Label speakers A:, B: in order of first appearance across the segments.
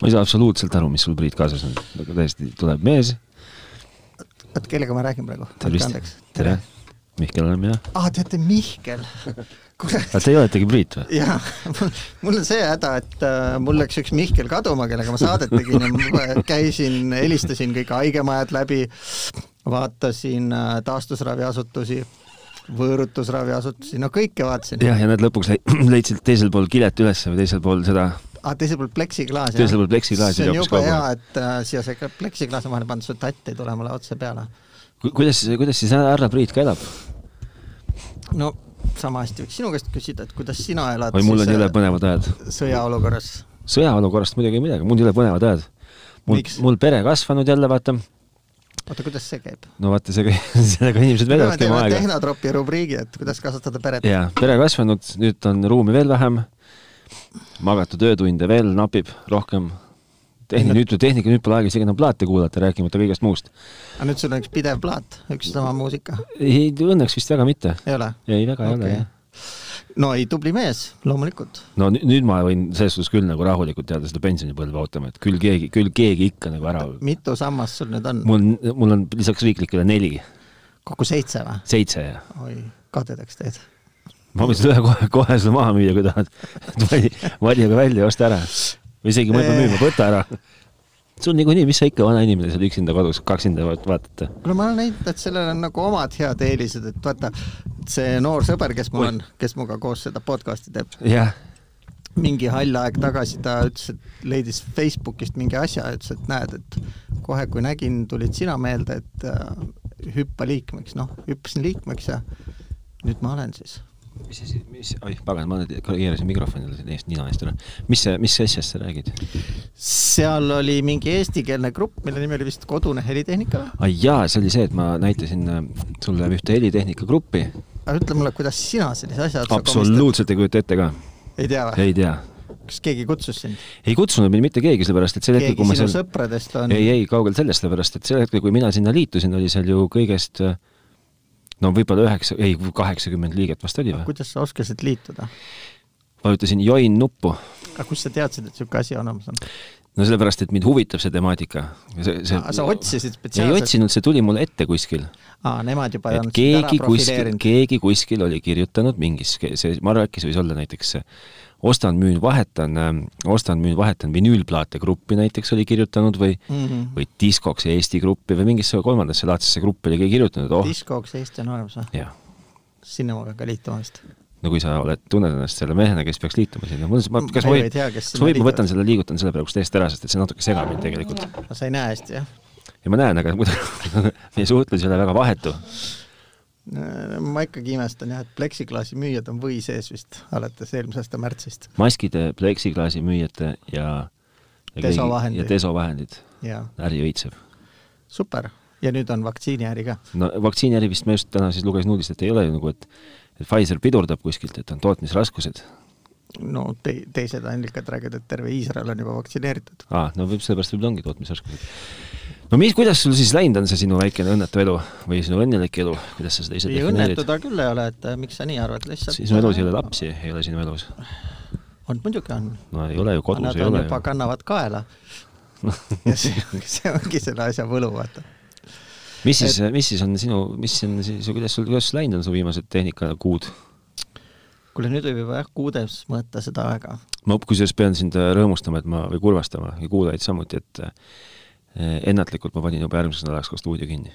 A: ma ei saa absoluutselt aru, mis sul, Priit, kaasas on, aga täiesti tuleb mees.
B: oot , kellega ma räägin praegu ?
A: tervist , tere .. Mihkel olen mina .
B: ah , te olete Mihkel . kurat
A: aga teie oletegi Priit või ?
B: jaa , mul on see häda , et äh, mul läks üks Mihkel kaduma , kellega ma saadet tegin ja ma käisin , helistasin kõik haigemajad läbi , vaatasin äh, taastusraviasutusi , võõrutusraviasutusi , no kõike vaatasin .
A: jah , ja nad lõpuks lei- leidsid teisel pool kilet üles või teisel pool seda ,
B: aga Ah, teisel pool pleksiklaas .
A: teisel pool pleksiklaasi
B: see on
A: jooksis
B: jube
A: kogu
B: hea
A: aeg. ,
B: et äh, siia see ka- pleksiklaas on vahele pandud , su tatt ei tule mulle otse peale .
A: Ku- kuidas , kuidas siis härra Priit ka elab ?
B: no sama hästi võiks sinu käest küsida , et kuidas sina elad äh,
A: oi , mul on jõle põnevad ajad .
B: sõjaolukorras .
A: sõjaolukorrast muidugi ei midagi , mul jõle põnevad ajad . mul
B: Miks? ,
A: mul pere kasvanud jälle , vaata .
B: oota , kuidas see käib ?
A: no vaata , see , sellega inimesed
B: me
A: veedavad tema
B: teeme
A: aega .
B: tehnotropi rubriigi , et kuidas kasvatada peret .
A: jaa , pere kasvanud , nüüd on ruumi veel vähem , magatud öötunde veel napib rohkem , tehnika , nüüd , tehnika , nüüd pole aega isegi enam plaate kuulata , rääkimata kõigest muust .
B: aga Ah, nüüd sul on üks pidev plaat , üks sama muusika ,
A: ei , õnneks vist väga mitte .
B: ei ole ?
A: ei , väga ei ole
B: Okei.
A: jah .
B: no ei , tubli mees , loomulikult .
A: no nü- nüüd ma võin selles suhtes küll nagu rahulikult jääda seda pensionipõlve ootama , et küll keegi , küll keegi ikka nagu ära
B: mitu sammast sul nüüd on ?
A: mul on , mul on lisaks riiklikele neli ,
B: kokku seitse või ?
A: seitse ja
B: oi , kadedaks teed .
A: ma võin seda kohe , kohe seda maha müüa , kui tahad . vali , vali aga välja ja osta ära . või isegi ma ei pea müüma , võta ära . sul Äh. niikuinii , mis sa ikka , vana inimene seal üksinda kodus , kaksinda vaat- vaatad .
B: kuule , ma olen näinud , et sellel on nagu omad head eelised , et vaata , see noor sõber , kes mul
A: Oi.
B: on , kes minuga koos seda podcast'i teeb ,
A: jah ,
B: mingi hall aeg tagasi ta ütles , et leidis Facebookist mingi asja ja ütles , et näed , et kohe , kui nägin , tulid sina meelde , et äh, hüppa liikmeks , noh , hüppasin liikmeks ja nüüd ma olen siis .
A: mis asi , mis , oih , pagan , ma nüüd keerasin mikrofonile siin eest nina eest ära . mis see , mis asjast sa räägid ?
B: seal oli mingi eestikeelne grupp , mille nimi oli vist Kodune helitehnika .
A: ai jaa , see oli see , et ma näitasin äh, sulle ühte helitehnika gruppi .
B: aga ütle mulle , kuidas sina sellise asja otsa komistad ?
A: absoluutselt ei kujuta ette ka ,
B: ei tea või ?
A: ei tea .
B: kas keegi kutsus sind ?
A: ei kutsunud mind mitte keegi , sellepärast et sel hetkel ,
B: keegi
A: kui ma
B: sinu
A: seal
B: seal... sõpradest on ?
A: ei , ei kaugel sellest , sellepärast et sel hetkel , kui mina sinna liitusin , oli seal ju kõigest äh, no võib-olla üheksa , ei kaheksakümmend liiget vast oli või ?
B: kuidas sa oskasid liituda ?
A: vajutasin join nuppu ,
B: aga kust sa teadsid , et niisugune asi olemas on ?
A: no sellepärast , et mind huvitab see temaatika .
B: Aa, Ah, sa otsisid
A: ei
B: spetsiaalselt?
A: otsinud , see tuli mulle ette kuskil .
B: aa , nemad juba ei
A: et
B: olnud sind ära
A: keegi kuskil ,
B: profileerinud .
A: keegi kuskil oli kirjutanud mingis , see , ma arvan , äkki see võis olla näiteks see ostan , müün , vahetan , ostan , müün , vahetan vinüülplaate gruppi näiteks oli kirjutanud või
B: Mm -hmm.
A: või Discogs Eesti gruppi või mingisse kolmandasse laadsesse gruppi oli keegi kirjutanud , oh ,
B: Discogs Eesti on olemas või ?
A: jah
B: sinna ma pean ka liituma vist .
A: no kui sa oled , tunned ennast selle mehena , kes peaks liituma sinna , mul ,
B: Ma
A: kas ma
B: ju
A: võin
B: ei , tea, kes
A: kas ma võin ,
B: sinna
A: ma
B: liituvad.
A: võtan selle , liigutan selle praegust eest ära , sest et see natuke segab mind tegelikult .
B: no sa ei näe hästi jah ?
A: ja ma näen , aga muidu meie suhtlus ei ole väga vahetu .
B: Äh, ma ikkagi imestan jah , et pleksiklaasi müüjad on või sees vist alates eelmise aasta märtsist
A: maskide , pleksiklaasi müüjate ja, ja keegi-
B: Desovahendid.
A: ja desovahendid ,
B: ja
A: äri õitseb .
B: super , ja nüüd on vaktsiiniäri ka .
A: no vaktsiiniäri vist ma just täna siis lugesin uudist , et ei ole ju nagu , et et Pfizer pidurdab kuskilt , et on tootmisraskused .
B: no te, teised allikad räägivad , et terve Iisrael on juba vaktsineeritud .
A: aa , no võib , sellepärast võib-olla ongi tootmisraskused . no mis , kuidas sul siis läinud on see sinu väikene õnnetu elu või sinu õnnelik elu , kuidas sa seda ise
B: ei
A: defineerid
B: õnnetu ? ta küll ei ole , et äh, miks sa nii arvad , lihtsalt äh,
A: sinu elus ei ole lapsi , ei ole sinu elus .
B: on , muidugi on .
A: no ei ole ju kodus ,
B: Nad
A: ei
B: on
A: ole
B: juba ,
A: ju .
B: kannavad kaela . ja see , see ongi selle asja võlu , vaata .
A: mis siis , mis siis on sinu , mis on siis , kuidas sul , kuidas läinud on su viimased tehnikakuud ?
B: kuule , nüüd võib juba jah , kuudes mõõta seda aega .
A: ma kusjuures pean sind äh, rõõmustama , et ma , või kurvastama ja kuulajaid samuti , et eh, ennatlikult ma panin juba järgmiseks nädalaks ka stuudio kinni .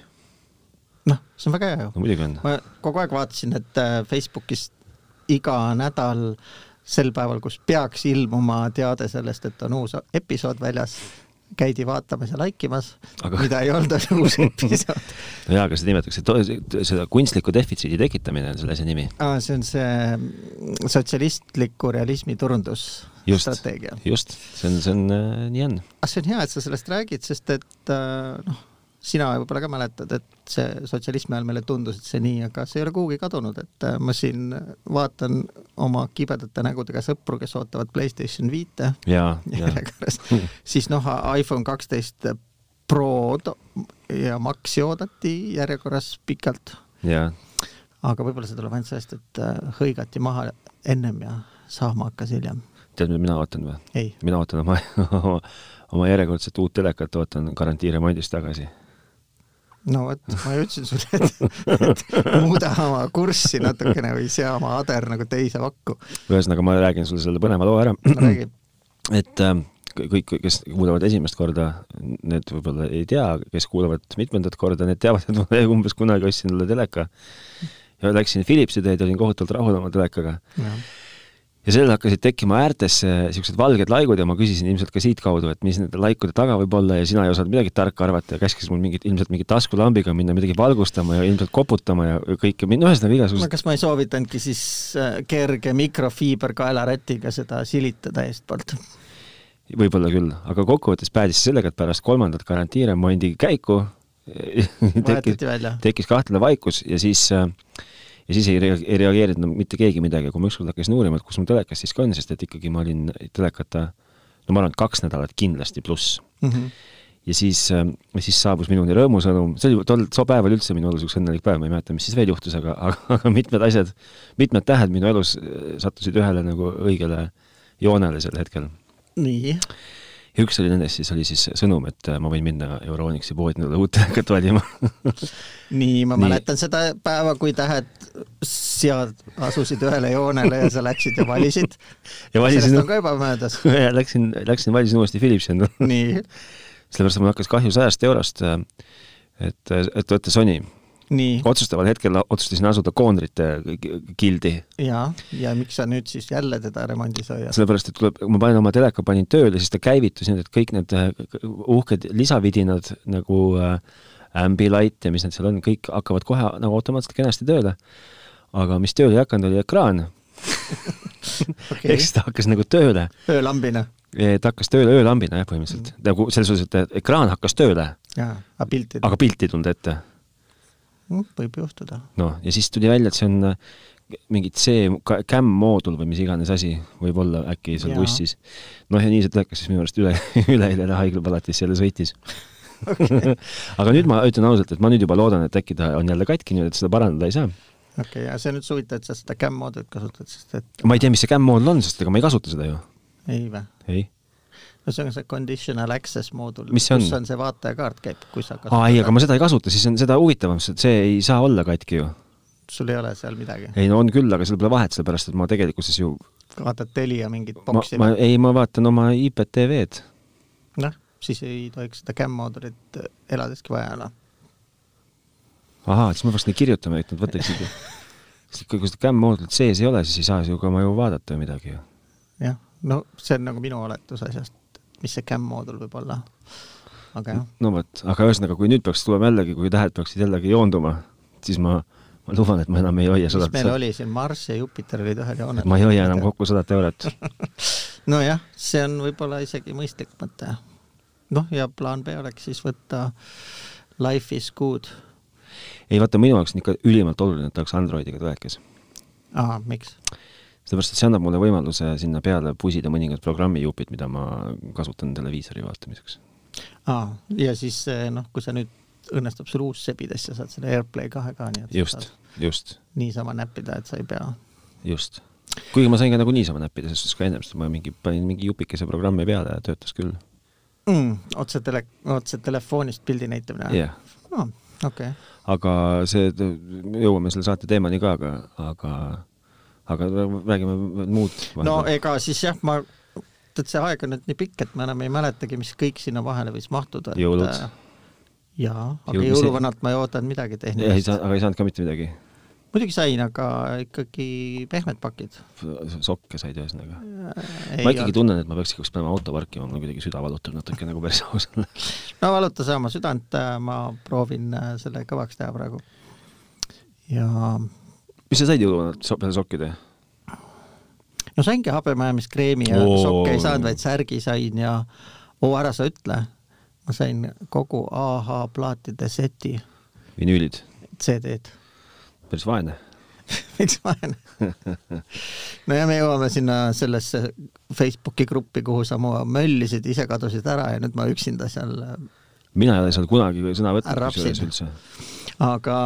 B: noh , see on väga hea ju .
A: no muidugi on .
B: ma kogu aeg vaatasin , et äh, Facebookis iga nädal sel päeval , kus peaks ilmuma teade sellest , et on uus episood väljas , käidi vaatamas ja laikimas
A: Aga-
B: Aga... , mida ei olnud , oli uus episood .
A: jaa , aga seda nimetatakse , seda kunstliku defitsiidi tekitamine on selle asja nimi .
B: see on see sotsialistliku realismi
A: just
B: turundusstrateegia .,
A: just , see on , see on , nii on .
B: aga Ah, see on hea , et sa sellest räägid , sest et äh, noh , sina võib-olla ka mäletad , et see sotsialismi ajal meile tundus , et see nii , aga see ei ole kuhugi kadunud , et äh, ma siin vaatan oma kibedate nägudega sõpru , kes ootavad Playstation viite
A: jaa , jaa .
B: järjekorras , siis noh , iPhone kaksteist Pro to- ja Maxi oodati järjekorras pikalt ,
A: jaa ,
B: aga võib-olla see tuleb ainult sellest , et äh, hõigati maha ennem ja saama hakkas hiljem .
A: tead , mida mina ootan või ?
B: ei ,
A: mina ootan oma oma, oma järjekordset uut telekat , ootan garantiiremondis tagasi .
B: no vot , ma ju ütlesin sulle , et muuda oma kurssi natukene või sea oma ader nagu teise vakku .
A: ühesõnaga , ma räägin sulle selle põneva loo ära ,
B: räägi ,
A: et ähm, kõik , kes kuulavad esimest korda , need võib-olla ei tea , kes kuulavad mitmendat korda , need teavad , et ma umbes kunagi ostsin endale teleka ja läksin Philipsi teed ja olin kohutavalt rahul oma telekaga
B: jah ,
A: ja sellel hakkasid tekkima äärtesse niisugused valged laigud ja ma küsisin ilmselt ka siitkaudu , et mis nende laikude taga võib olla ja sina ei osanud midagi tarka arvata ja käskis mul mingit , ilmselt mingi taskulambiga minna midagi valgustama ja ilmselt koputama ja kõike , ühesõnaga
B: no
A: igasugused
B: kas ma ei soovitanudki siis äh, kerge mikrofiiberkaelarätiga seda silitada eestpoolt ?
A: võib-olla küll , aga kokkuvõttes päädis see sellega , et pärast kolmandat garantiiremondi käiku tekkis ,
B: vahetati välja ?
A: tekkis kahtlane vaikus ja siis äh, ja siis ei rea- ei reageerinud enam mitte keegi midagi , kui ma ükskord hakkasin uurima , et kus mu telekas siiski on , sest et ikkagi ma olin telekata no ma arvan , et kaks nädalat kindlasti pluss
B: Mhm.
A: ja siis , siis saabus minuni rõõmusõnum , see oli tol , too päev oli üldse minu elus üks õnnelik päev , ma ei mäleta , mis siis veel juhtus , aga , aga mitmed asjad , mitmed tähed minu elus äh, sattusid ühele nagu õigele joonele sel hetkel .
B: nii ,
A: ja üks oli nendest siis , oli siis sõnum , et äh, ma võin minna Euronixi poodi endale uut telekat valima .
B: nii , ma
A: Nii.
B: nii. mäletan seda päeva , kui tähed sead asusid ühele joonele ja sa läksid ja valisid .
A: ja
B: sellest
A: valisin
B: on , ka juba möödas .
A: läksin , läksin valisin uuesti Philipsi endale .
B: nii ,
A: sellepärast , et mul hakkas kahju sajast eurost , et , et võtta Sony .
B: nii
A: otsustaval hetkel otsustasin asuda koondrite gildi
B: ja , ja miks sa nüüd siis jälle teda remondis hoiad ?
A: sellepärast , et tuleb , kui ma panin oma teleka , panin tööle , siis ta käivitus nii , et kõik need äh, uhked lisavidinad nagu äh, Ambilight ja mis need seal on , kõik hakkavad kohe nagu automaatselt kenasti tööle . aga mis tööle ei hakanud , oli ekraan okay. ,
B: okei
A: ehk , siis ta hakkas nagu tööle ,
B: öölambina .
A: ta hakkas tööle öölambina jah , põhimõtteliselt nagu selles suhtes , et ekraan hakkas tööle ,
B: jaa , aga piltid
A: aga pilti ei tulnud ette .
B: Mm, võib juhtuda .
A: noh , ja siis tuli välja , et see on äh, mingi C-CAM moodul või mis iganes asi võib olla äkki seal
B: Jaa.
A: bussis . noh , ja nii see telekas siis minu arust üle , üleeile haiglapalatisse jälle sõitis okay. . aga nüüd ma ütlen ausalt , et ma nüüd juba loodan , et äkki ta on jälle katki , nii et seda parandada ei saa .
B: okei okay, , ja see on nüüd huvitav , et sa seda CAM-moodit kasutad , sest et
A: ma ei tea , mis see CAM moodul on , sest ega ma ei kasuta seda ju .
B: ei vä ?
A: ei .
B: no see on see conditional access moodul ,
A: Mis see on?
B: kus on see vaatajakaart käib , kui sa
A: aa ei , aga
B: ma...
A: ma seda ei kasuta , siis on seda huvitavam , sest see ei saa olla katki ju .
B: Mhm. sul ei ole seal midagi ,
A: ei no on küll , aga seal pole vahet , sellepärast et ma tegelikkuses ju ,
B: vaatad Telia mingit
A: ma,
B: boksi
A: ma
B: või ?
A: ei , ma vaatan oma IPTV-d
B: noh , siis ei tohiks seda CAM-moodulit eladeski vaja noh. olla .
A: ahaa , siis ma peaks neid kirjutama , et nad võtaksid . sest kui kui seda CAM-moodlit sees ei ole , siis ei saa ju ka ma ju vaadata ju midagi ju .
B: jah , no see on nagu minu oletus asjast , mis see CAM-moodul võib olla . aga jah ,
A: no vot , aga ühesõnaga , kui nüüd peaks tulema jällegi , kui tähed peaksid jällegi joonduma , siis ma , ma luban , et ma enam ei hoia
B: mis
A: sadat ,
B: meil oli siin , Marss ja Jupiter olid ühel joonel .
A: ma ei hoia enam kokku sadat eurot .
B: nojah , see on võib-olla isegi mõistlik mõte . noh , ja plaan B oleks siis võtta Life is good .
A: ei vaata , minu jaoks on ikka ülimalt oluline , et oleks Androidiga telekas .
B: aa , miks ?
A: sellepärast , et see annab mulle võimaluse sinna peale pusida mõningad programmijupid , mida ma kasutan televiisori vaatamiseks .
B: aa , ja siis eh, noh , kui sa nüüd õnnestub sul uus sebida , siis sa saad selle AirPlay kahe ka , nii et sa
A: just
B: saad ,
A: just ,
B: niisama näppida , et sa ei pea .
A: just . kuigi ma sain ka nagu niisama näppida , sest ka ennem , sest ma mingi , panin mingi jupikese programmi peale ja töötas küll
B: Mm, otse tele , otse telefonist pildi näitamine
A: jah ,
B: oh, . okei okay. ,
A: aga see , jõuame selle saate teemani ka , aga , aga , aga räägime muud .
B: no ega siis jah , ma , tead see aeg on nüüd nii pikk , et ma enam ei mäletagi , mis kõik sinna vahele võis mahtuda .
A: Jõulud. .
B: jaa , aga
A: Jõudmise-
B: jõuluvanalt ma ei oodanud midagi
A: ei
B: tehnilist
A: saa ., aga ei saanud ka mitte midagi .
B: muidugi sain , aga ikkagi pehmed pakid .
A: sokke said ühesõnaga . ma ikkagi . tunnen , et ma peaks ikkagi panema auto parkima , mul kuidagi süda valutab natuke nagu päris aus olla .
B: no valuta sa oma südant , ma proovin äh, selle kõvaks teha praegu . ja no
A: mis sa said jõuluvanalt so peale sokkide ?
B: saingi habemajamiskreemi ja
A: Oo.
B: sokke ei saanud , vaid särgi sain ja oo , ära sa ütle , ma sain kogu AH plaatide seti
A: vinüülid ,
B: CD-d
A: päris vaene .
B: miks vaene ? no ja me jõuame sinna sellesse Facebooki gruppi , kuhu sa mu möllisid , ise kadusid ära ja nüüd ma üksinda seal , äh,
A: mina ei ole seal kunagi sõna võtnud
B: Ära
A: kusjuures
B: rapsid.
A: üldse .
B: aga ,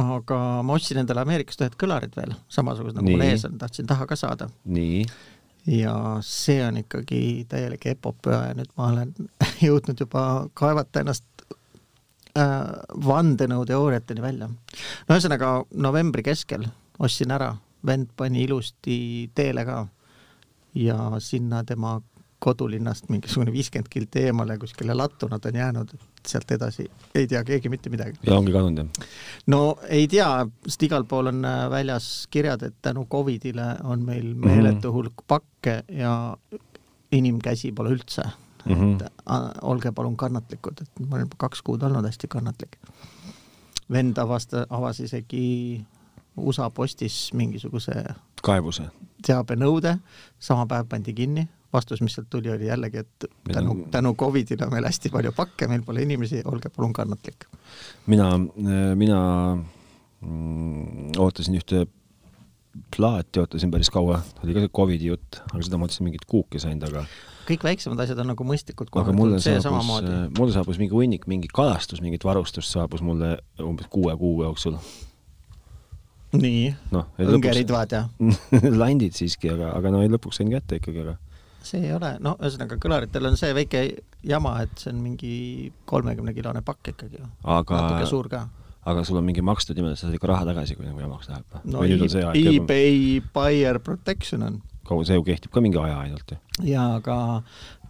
B: aga ma ostsin endale Ameerikast ühed kõlarid veel , samasugused nagu mul
A: Nii.
B: ees on , tahtsin taha ka saada
A: nii ,
B: ja see on ikkagi täielik epopöa ja nüüd ma olen jõudnud juba kaevata ennast äh, vandenõuteooriateni välja. no ühesõnaga novembri keskel ostsin ära, vend pani ilusti teele ka ja sinna tema kodulinnast mingisugune viiskümmend kilti eemale kuskile lattu nad on jäänud, et sealt edasi ei tea keegi mitte midagi.
A: ja ongi kadunud jah?
B: no ei tea, sest igal pool on äh, väljas kirjad, et tänu Covidile on meil meeletu mm -hmm. hulk pakke ja inimkäsi pole üldse
A: Mhm.
B: mm. -hmm. et olge palun kannatlikud, et ma olen juba kaks kuud olnud hästi kannatlik. vend avasta-, avas isegi USA postis mingisuguse
A: kaebuse?
B: teabenõude, sama päev pandi kinni vastus, mis sealt tuli, oli jällegi, et tänu, tänu Covidile on meil hästi palju pakke, meil pole inimesi, olge palun kannatlik.
A: mina, mina mm, ootasin ühte plaati, ootasin päris kaua, oli ka see Covidi jutt, aga seda ma ootasin mingit kuuki saanud, aga
B: kõik väiksemad asjad on nagu mõistlikud
A: aga mulle saabus, äh, mulle saabus mingi hunnik, mingi kalastus, mingit varustust saabus mulle umbes kuue kuu jooksul äh, Noh,
B: nii no,, õngeridvad ja
A: landid siiski, aga, aga no lõpuks sain kätte ikkagi, aga
B: see ei ole, no ühesõnaga kõlaritel on see väike jama, et see on mingi kolmekümne kilone pakk ikkagi ju. natuke suur ka.
A: aga sul on mingi makstud niimoodi, sa saad ikka raha tagasi, kui nagu jamaks läheb.
B: no e eBay buyer protection on.
A: kaua see ju kehtib ka mingi aja ainult ju.
B: jaa, aga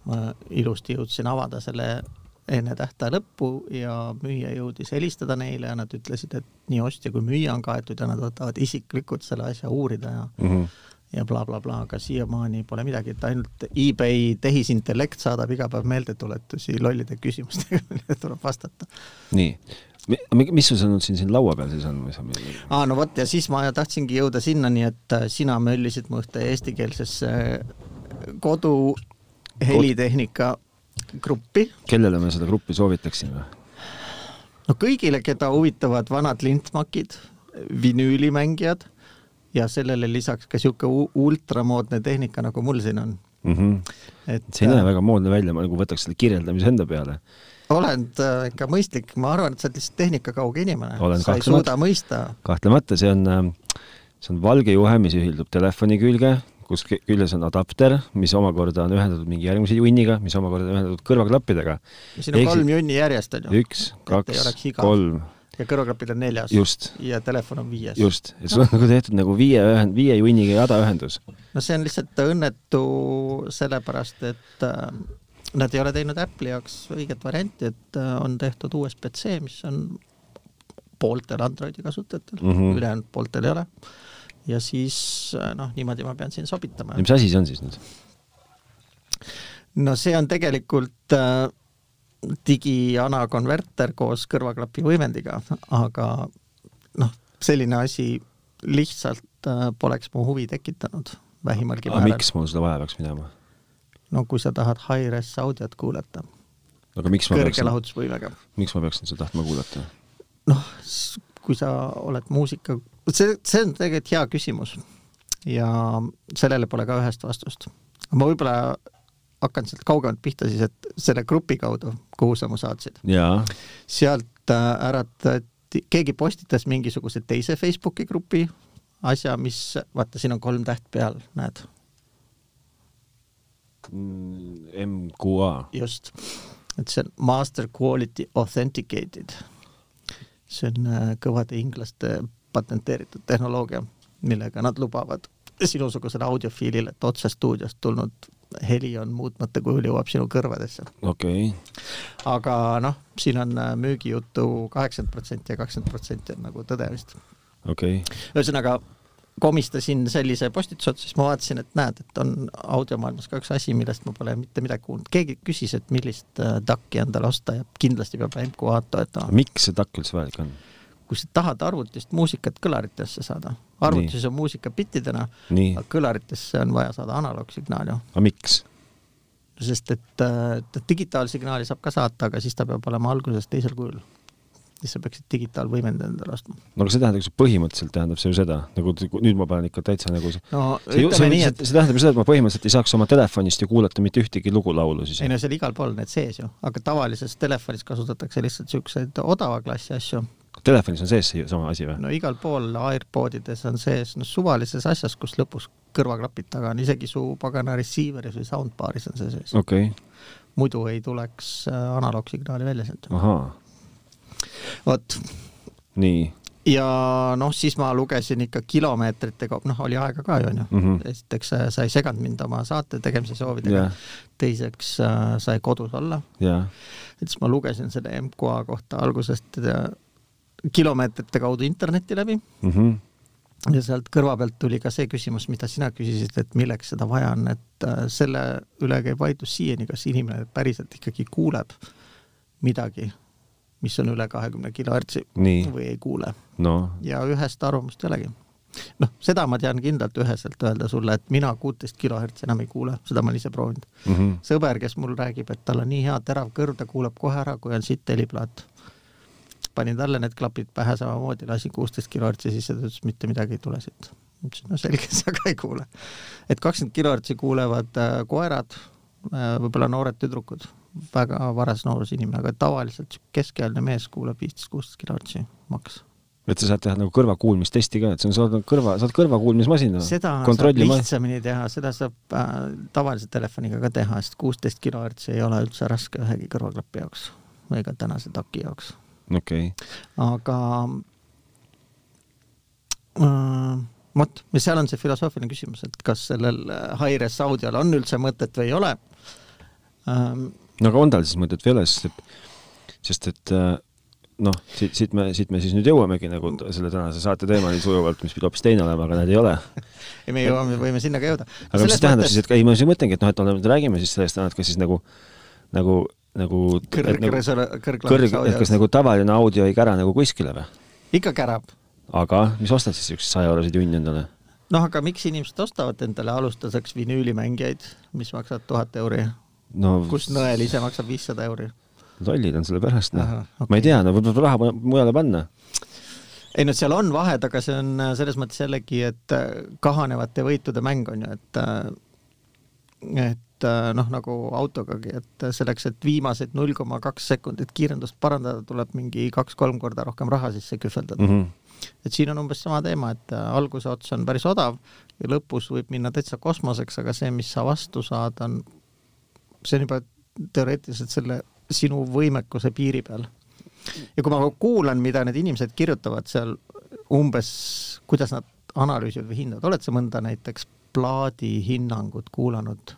B: ma ilusti jõudsin avada selle enne tähtaja lõppu ja müüja jõudis helistada neile ja nad ütlesid, et nii ostja kui müüja on kaetud ja nad võtavad isiklikult selle asja uurida ja mm
A: Mhm.
B: -hmm ja blablabla bla, bla, aga siiamaani pole midagi, et ainult eBay tehisintellekt saadab iga päev meeldetuletusi lollide küsimustega, millele tuleb vastata.
A: nii, mis sul seal nüüd siin, siin laua peal siis on või sa meil...?
B: aa, no vot ja siis ma tahtsingi jõuda sinnani, et äh, sina möllisid mu ühte eestikeelsesse äh, kodu helitehnika gruppi.
A: kellele me seda gruppi soovitaksime?
B: no kõigile, keda huvitavad vanad lintmakid, vinüülimängijad ja sellele lisaks ka niisugune ultramoodne tehnika, nagu mul siin on äh,
A: mm. -hmm. et see ei näe väga moodne välja, ma nagu võtaks selle kirjeldamise enda peale.
B: oled äh, ikka mõistlik, ma arvan, et sa oled lihtsalt tehnikakauge inimene. sa ei suuda mõista.
A: kahtlemata, see on, ähm, see on valge juhe, mis ühildub telefoni külge, kus küljes on adapter, mis omakorda on ühendatud mingi järgmise junniga, mis omakorda on ühendatud kõrvaklappidega.
B: siin on Eks... kolm junni järjest, on
A: ju? üks, kaks, kolm
B: ja kõrvaklapid on neljas
A: just.
B: ja telefon on viies.
A: just, et sul on nagu tehtud nagu viie ühend-, viie junniga jadaühendus.
B: no see on lihtsalt õnnetu sellepärast, et äh, nad ei ole teinud Apple'i jaoks õiget varianti, et äh, on tehtud USB-C, mis on pooltel Androidi kasutajatel mm
A: Mhm.
B: -hmm., ülejäänud pooltel ei ole. ja siis noh, niimoodi ma pean siin sobitama.
A: mis asi see on siis nüüd?
B: no see on tegelikult äh, digiana konverter koos kõrvaklapi võimendiga, aga noh, selline asi lihtsalt äh, poleks mu huvi tekitanud vähimalgi
A: määral. Ah, miks mul seda vaja peaks minema?
B: no kui sa tahad high-res audiot kuulata.
A: aga miks
B: ma kõrge lahutusvõimega.
A: miks ma peaksin seda tahtma kuulata?
B: noh, kui sa oled muusika, see, see on tegelikult hea küsimus ja sellele pole ka ühest vastust. ma võib-olla hakkan sealt kaugemalt pihta siis, et selle grupi kaudu, kuhu sa mu saatsid. sealt äh, äratati, keegi postitas mingisuguse teise Facebooki grupi asja, mis, vaata, siin on kolm täht peal, näed.
A: Mm, MQA.
B: just, et see on Master Quality Authenticated. see on äh, kõvade inglaste patenteeritud tehnoloogia, millega nad lubavad sinusugusele audiofiilile, et otse stuudiost tulnud heli on muutmata kujul jõuab sinu kõrvadesse.
A: okei okay..
B: aga noh, siin on müügijuttu kaheksakümmend protsenti ja kakskümmend protsenti on nagu tõde vist.
A: okei okay..
B: ühesõnaga komistasin sellise postituse otsa, siis ma vaatasin, et näed, et on audiomaailmas ka üks asi, millest ma pole mitte midagi kuulnud. keegi küsis, et millist DAC-i endale osta ja kindlasti peab MQA-d toetama.
A: miks see DAC üldse vajalik on?
B: kui sa tahad arvutist muusikat kõlaritesse saada, arvutis on muusika bittidena, aga kõlaritesse on vaja saada analoogsignaali.
A: aga miks?
B: sest et äh, digitaalsignaali saab ka saata, aga siis ta peab olema alguses teisel kujul. siis sa peaksid digitaalvõimendi endale ostma.
A: no aga see tähendab, põhimõtteliselt tähendab see ju seda, nagu nüüd ma panen ikka täitsa nagu see
B: no, see, see, nii,
A: et... see tähendab seda, et ma põhimõtteliselt ei saaks oma telefonist ju kuulata mitte ühtegi lugulaulu siis.
B: ei no seal igal pool on need sees ju, aga tavalises telefonis kasutatakse lihtsalt niisuguseid odava klassi asju
A: telefonis on sees see sama asi või?
B: no igal pool AirPodides on sees, no suvalises asjas, kus lõpus kõrvaklapid taga on, isegi su pagana receiver'is või soundbar'is on see sees.
A: okei okay.,
B: muidu ei tuleks äh, analoogsignaali välja sealt.
A: ahaa,
B: vot,
A: nii
B: ja noh, siis ma lugesin ikka kilomeetrite kaupa, noh, oli aega ka ju onju mm
A: Mhm.
B: -hmm. esiteks äh, sa ei seganud mind oma saate tegemise soovidega
A: ja,
B: yeah. , teiseks äh, sai kodus olla ,
A: ja
B: et siis ma lugesin selle MQA kohta algusest äh, kilomeetrite kaudu interneti läbi
A: mm . -hmm.
B: ja sealt kõrva pealt tuli ka see küsimus , mida sina küsisid , et milleks seda vaja on , et äh, selle üle käib vaidlus siiani , kas inimene päriselt ikkagi kuuleb midagi , mis on üle kahekümne kilohertsi
A: nii ,
B: või ei kuule
A: no
B: ja ühest arvamust ei olegi . noh , seda ma tean kindlalt üheselt öelda sulle , et mina kuuteist kilohertsi enam ei kuule , seda ma olen ise proovinud .
A: mm . -hmm.
B: sõber , kes mul räägib , et tal on nii hea terav kõrv , ta kuuleb kohe ära , kui on sitt heliplaat . panin talle need klapid pähe samamoodi , lasin kuusteist kilohertsi sisse , ta ütles mitte midagi ei tule siit . ma ütlesin , no selge , sa ka ei kuule . et kakskümmend kilohertsi kuulevad äh, koerad , võib-olla noored tüdrukud , väga varas noorus inimene , aga tavaliselt sihuke keskealine mees kuuleb viisteist , kuusteist kilohertsi maks .
A: et sa saad teha nagu kõrvakuulmistesti ka , et sa saad nagu kõrva , saad kõrvakuulmismasina
B: seda saab
A: kontrollima .
B: lihtsamini teha , seda saab äh, tavalise telefoniga ka teha , sest kuusteist kilohertsi ei ole üldse raske ühegi kõrvaklapi jaoks või ka tänase taki jaoks ,
A: okei okay. ,
B: aga äh, vot , ja seal on see filosoofiline küsimus , et kas sellel äh, hi-res audiol on üldse mõtet või ei ole ähm, .
A: no aga on tal siis mõtet või ei ole , sest et , sest et äh, noh , siit , siit me , siit me siis nüüd jõuamegi nagu t- selle tänase saate teemani sujuvalt , mis pidi hoopis teine olema , aga näed ei ole .
B: ei , me jõuame , võime sinna ka jõuda .
A: aga mis see tähendab siis , et ei , ma siis mõtlengi , et noh , et oleme , räägime siis sellest , et kas siis nagu , nagu , nagu et
B: kõrg ,
A: nagu- kõrg , et kas
B: kõrg ,
A: nagu tavaline audio ei kära nagu kuskile või ?
B: ikka kärab
A: aga mis ostad siis siukse saja euroseid junni endale ?
B: noh , aga miks inimesed ostavad endale alustuseks vinüülimängijaid , mis maksavad tuhat euri ,
A: no
B: kus nõel ise maksab viissada euri ?
A: lollid on selle pärast , noh
B: Ahah, okei.
A: okay. . ma ei tea , no võib-olla raha mu- mujale panna .
B: ei no seal on vahed , aga see on äh, selles mõttes jällegi , et äh, kahanevate võitude mäng on ju , et äh, et äh, noh , nagu autogagi , et selleks , et viimased null koma kaks sekundit kiirendust parandada , tuleb mingi kaks-kolm korda rohkem raha sisse
A: Mhm.
B: kühveldada . et siin on umbes sama teema , et äh, alguse ots on päris odav ja lõpus võib minna täitsa kosmoseks , aga see , mis sa vastu saad , on , see on juba teoreetiliselt selle sinu võimekuse piiri peal . ja kui ma kuulan , mida need inimesed kirjutavad seal umbes , kuidas nad analüüsivad või hindavad , oled sa mõnda näiteks plaadi hinnangut kuulanud ?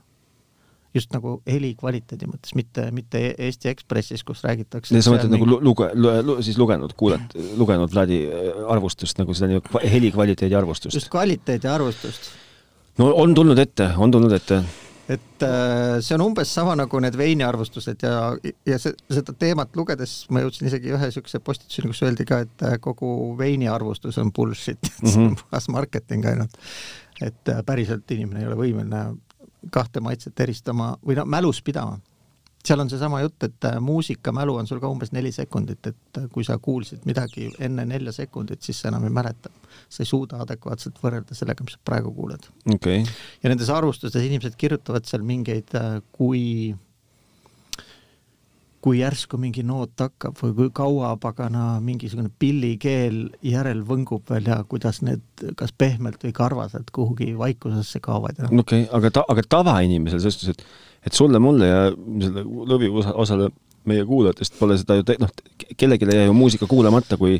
B: just nagu heli kvaliteedi mõttes , mitte , mitte E-, Eesti Ekspressis , kus räägitakse .
A: sa mõtled nagu lu- luge- , lu- , siis lugenud , kuulat- , lugenud plaadi äh, arvustust nagu seda nii-öelda kva- heli kvaliteedi arvustust
B: just ? kvaliteedi arvustust
A: no on tulnud ette , on tulnud ette .
B: et äh, see on umbes sama nagu need veiniarvustused ja , ja se- seda teemat lugedes ma jõudsin isegi ühe niisuguse postituseni , kus öeldi ka , et äh, kogu veiniarvustus on bullshit , et see on
A: Mhm.
B: puhas marketing ainult . et äh, päriselt inimene ei ole võimeline kahte maitset eristama või no mälus pidama . seal on seesama jutt , et äh, muusikamälu on sul ka umbes neli sekundit , et äh, kui sa kuulsid midagi enne nelja sekundit , siis sa enam ei mäleta . sa ei suuda adekvaatselt võrrelda sellega , mis sa praegu kuuled
A: okei okay. ,
B: ja nendes arvustustes inimesed kirjutavad seal mingeid , kui , kui järsku mingi noot hakkab või kui kaua pagana mingisugune pillikeel järel võngub veel ja kuidas need kas pehmelt või karvaselt kuhugi vaikusesse kaovad ja noh ,
A: okei okay. , aga ta- , aga tavainimesel selles suhtes , et , et sulle , mulle ja selle lõviosa , osale meie kuulajatest pole seda ju te- , noh , kellelegi jäi ju muusika kuulamata , kui ,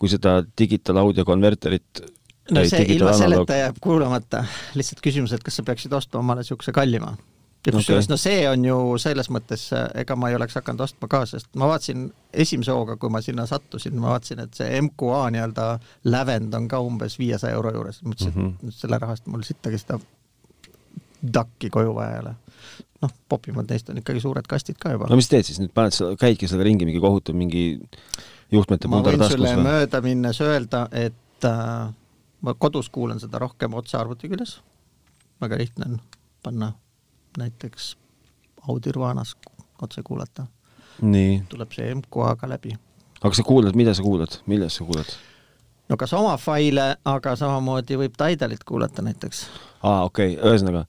A: kui seda digitaalaudiokonverterit
B: no
A: ei,
B: see ilma
A: digitaalanaaloog-
B: selleta jääb kuulamata , lihtsalt küsimus , et kas sa peaksid ostma omale niisuguse kallima . ja
A: Okei.
B: kusjuures okay. no see on ju selles mõttes , ega ma ei oleks hakanud ostma ka , sest ma vaatasin esimese hooga , kui ma sinna sattusin , ma vaatasin , et see MQA nii-öelda lävend on ka umbes viiesaja euro juures , mõtlesin mm , -hmm.
A: Mhm.
B: et nüüd selle raha eest mul sittagi seda takki koju vaja ei ole . noh , popimad neist on ikkagi suured kastid ka juba
A: no . mis teed siis nüüd , paned seda , käidki sellega ringi , mingi kohutav mingi juhtmete
B: ma
A: pundar
B: võin
A: taskus
B: sulle
A: või ?
B: mööda minnes öelda , et äh, ma kodus kuulan seda rohkem otsearvuti küljes . väga lihtne on panna näiteks Audirvanas otse kuulata ,
A: nii ,
B: tuleb see MQA-ga läbi .
A: aga sa kuulad , mida sa kuulad , millest sa kuulad ?
B: no kas oma faile , aga samamoodi võib Tidalit kuulata näiteks .
A: aa , okei okay. , ühesõnaga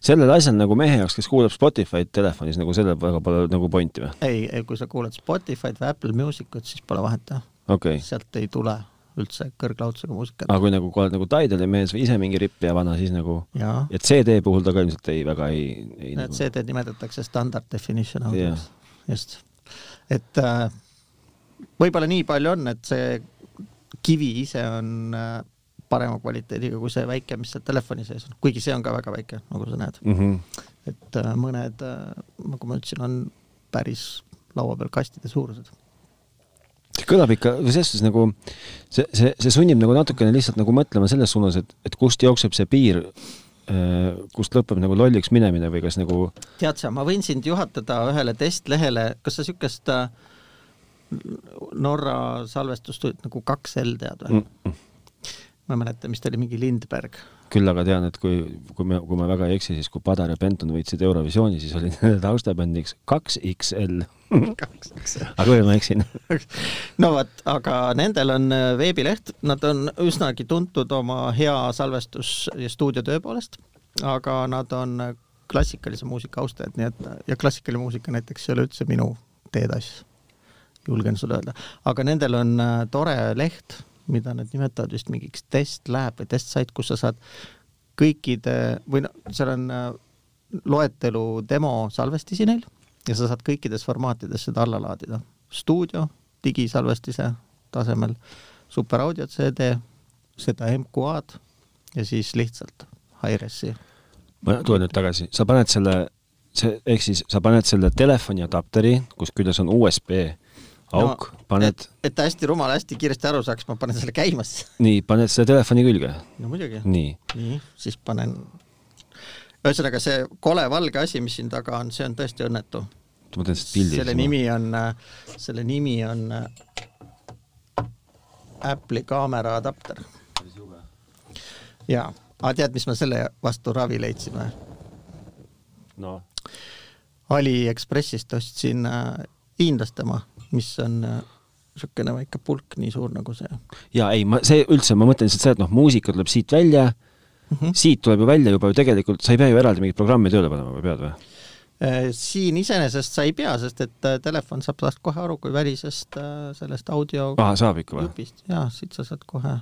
A: sellel asjal nagu mehe jaoks , kes kuulab Spotify'd telefonis , nagu sellel väga pole nagu pointi või ?
B: ei , ei , kui sa kuulad Spotify'd või Apple Musicut , siis pole vahet jah .
A: okei okay. .
B: sealt ei tule üldse kõrglaudsega muusikat
A: aga kui nagu , kui oled nagu Tidali mees või ise mingi rippija vana , siis nagu ,
B: jaa ,
A: ja CD puhul ta ka ilmselt ei , väga ei , ei
B: need
A: nagu,
B: CD-d nimetatakse standard definition audioks , just . et äh, võib-olla nii palju on , et see kivi ise on äh, parema kvaliteediga kui see väike , mis seal telefoni sees on , kuigi see on ka väga väike , nagu sa näed .
A: mm . -hmm.
B: et äh, mõned , nagu ma ütlesin , on päris laua peal kastide suurused .
A: see kõlab ikka , või selles suhtes nagu see , see , see sunnib nagu natukene lihtsalt nagu mõtlema selles suunas , et , et kust jookseb see piir , kust lõpeb nagu lolliks minemine või kas nagu
B: tead sa , ma võin sind juhatada ühele testlehele , kas sa niisugust äh, Norra salvestusstuudiot nagu 2L tead või
A: mm,
B: mm. ? ma ei mäleta , mis ta oli , mingi Lindberg
A: küll aga tean , et kui , kui me , kui ma väga ei eksi , siis kui Padar ja Benton võitsid Eurovisiooni , siis oli nende taustabändiks kaks XL .
B: kaks , eks .
A: aga või ma eksin ?
B: no vot , aga nendel on äh, veebileht , nad on üsnagi tuntud oma hea salvestus- ja stuudiotöö poolest , aga nad on äh, klassikalise muusika austajad , nii et ja klassikaline muusika näiteks ei ole üldse minu teetass , julgen sulle öelda , aga nendel on äh, tore leht , mida nad nimetavad vist mingiks test lab või test site , kus sa saad kõikide või noh , seal on äh, loetelu demo salvestisi neil ja sa saad kõikides formaatides seda alla laadida . stuudio , digisalvestise tasemel , superaudio CD , seda MQA-d ja siis lihtsalt Hi-Resi .
A: ma tulen nüüd tagasi , sa paned selle , see , ehk siis sa paned selle telefoni adapteri , kus küljes on USB auk no, , paned ,
B: et ta hästi rumal , hästi kiiresti aru saaks , ma panen selle käima siis .
A: nii , paned selle telefoni külge ,
B: no muidugi .
A: nii .
B: nii , siis panen . ühesõnaga , see kole valge asi , mis siin taga on , see on tõesti õnnetu .
A: ma teen siis pildi .
B: selle nimi on , selle nimi on äh, Apple'i kaamera adapter . jaa , aga tead , mis ma selle vastu ravi leidsin või ?
A: no. .
B: Aliekspressist ostsin äh, hiinlaste oma , mis on äh, niisugune väike pulk , nii suur nagu see .
A: jaa , ei , ma , see üldse , ma mõtlen lihtsalt seda , et noh , muusika tuleb siit välja mm ,
B: Mhm.
A: -hmm. siit tuleb ju välja juba ju tegelikult , sa ei pea ju eraldi mingit programmi tööle panema , või pead või ?
B: Äh, siin iseenesest sa ei pea , sest et äh, telefon saab tast kohe aru kui välisest äh, sellest audio
A: aa , saab ikka või ?
B: jupist ja siit sa saad kohe ,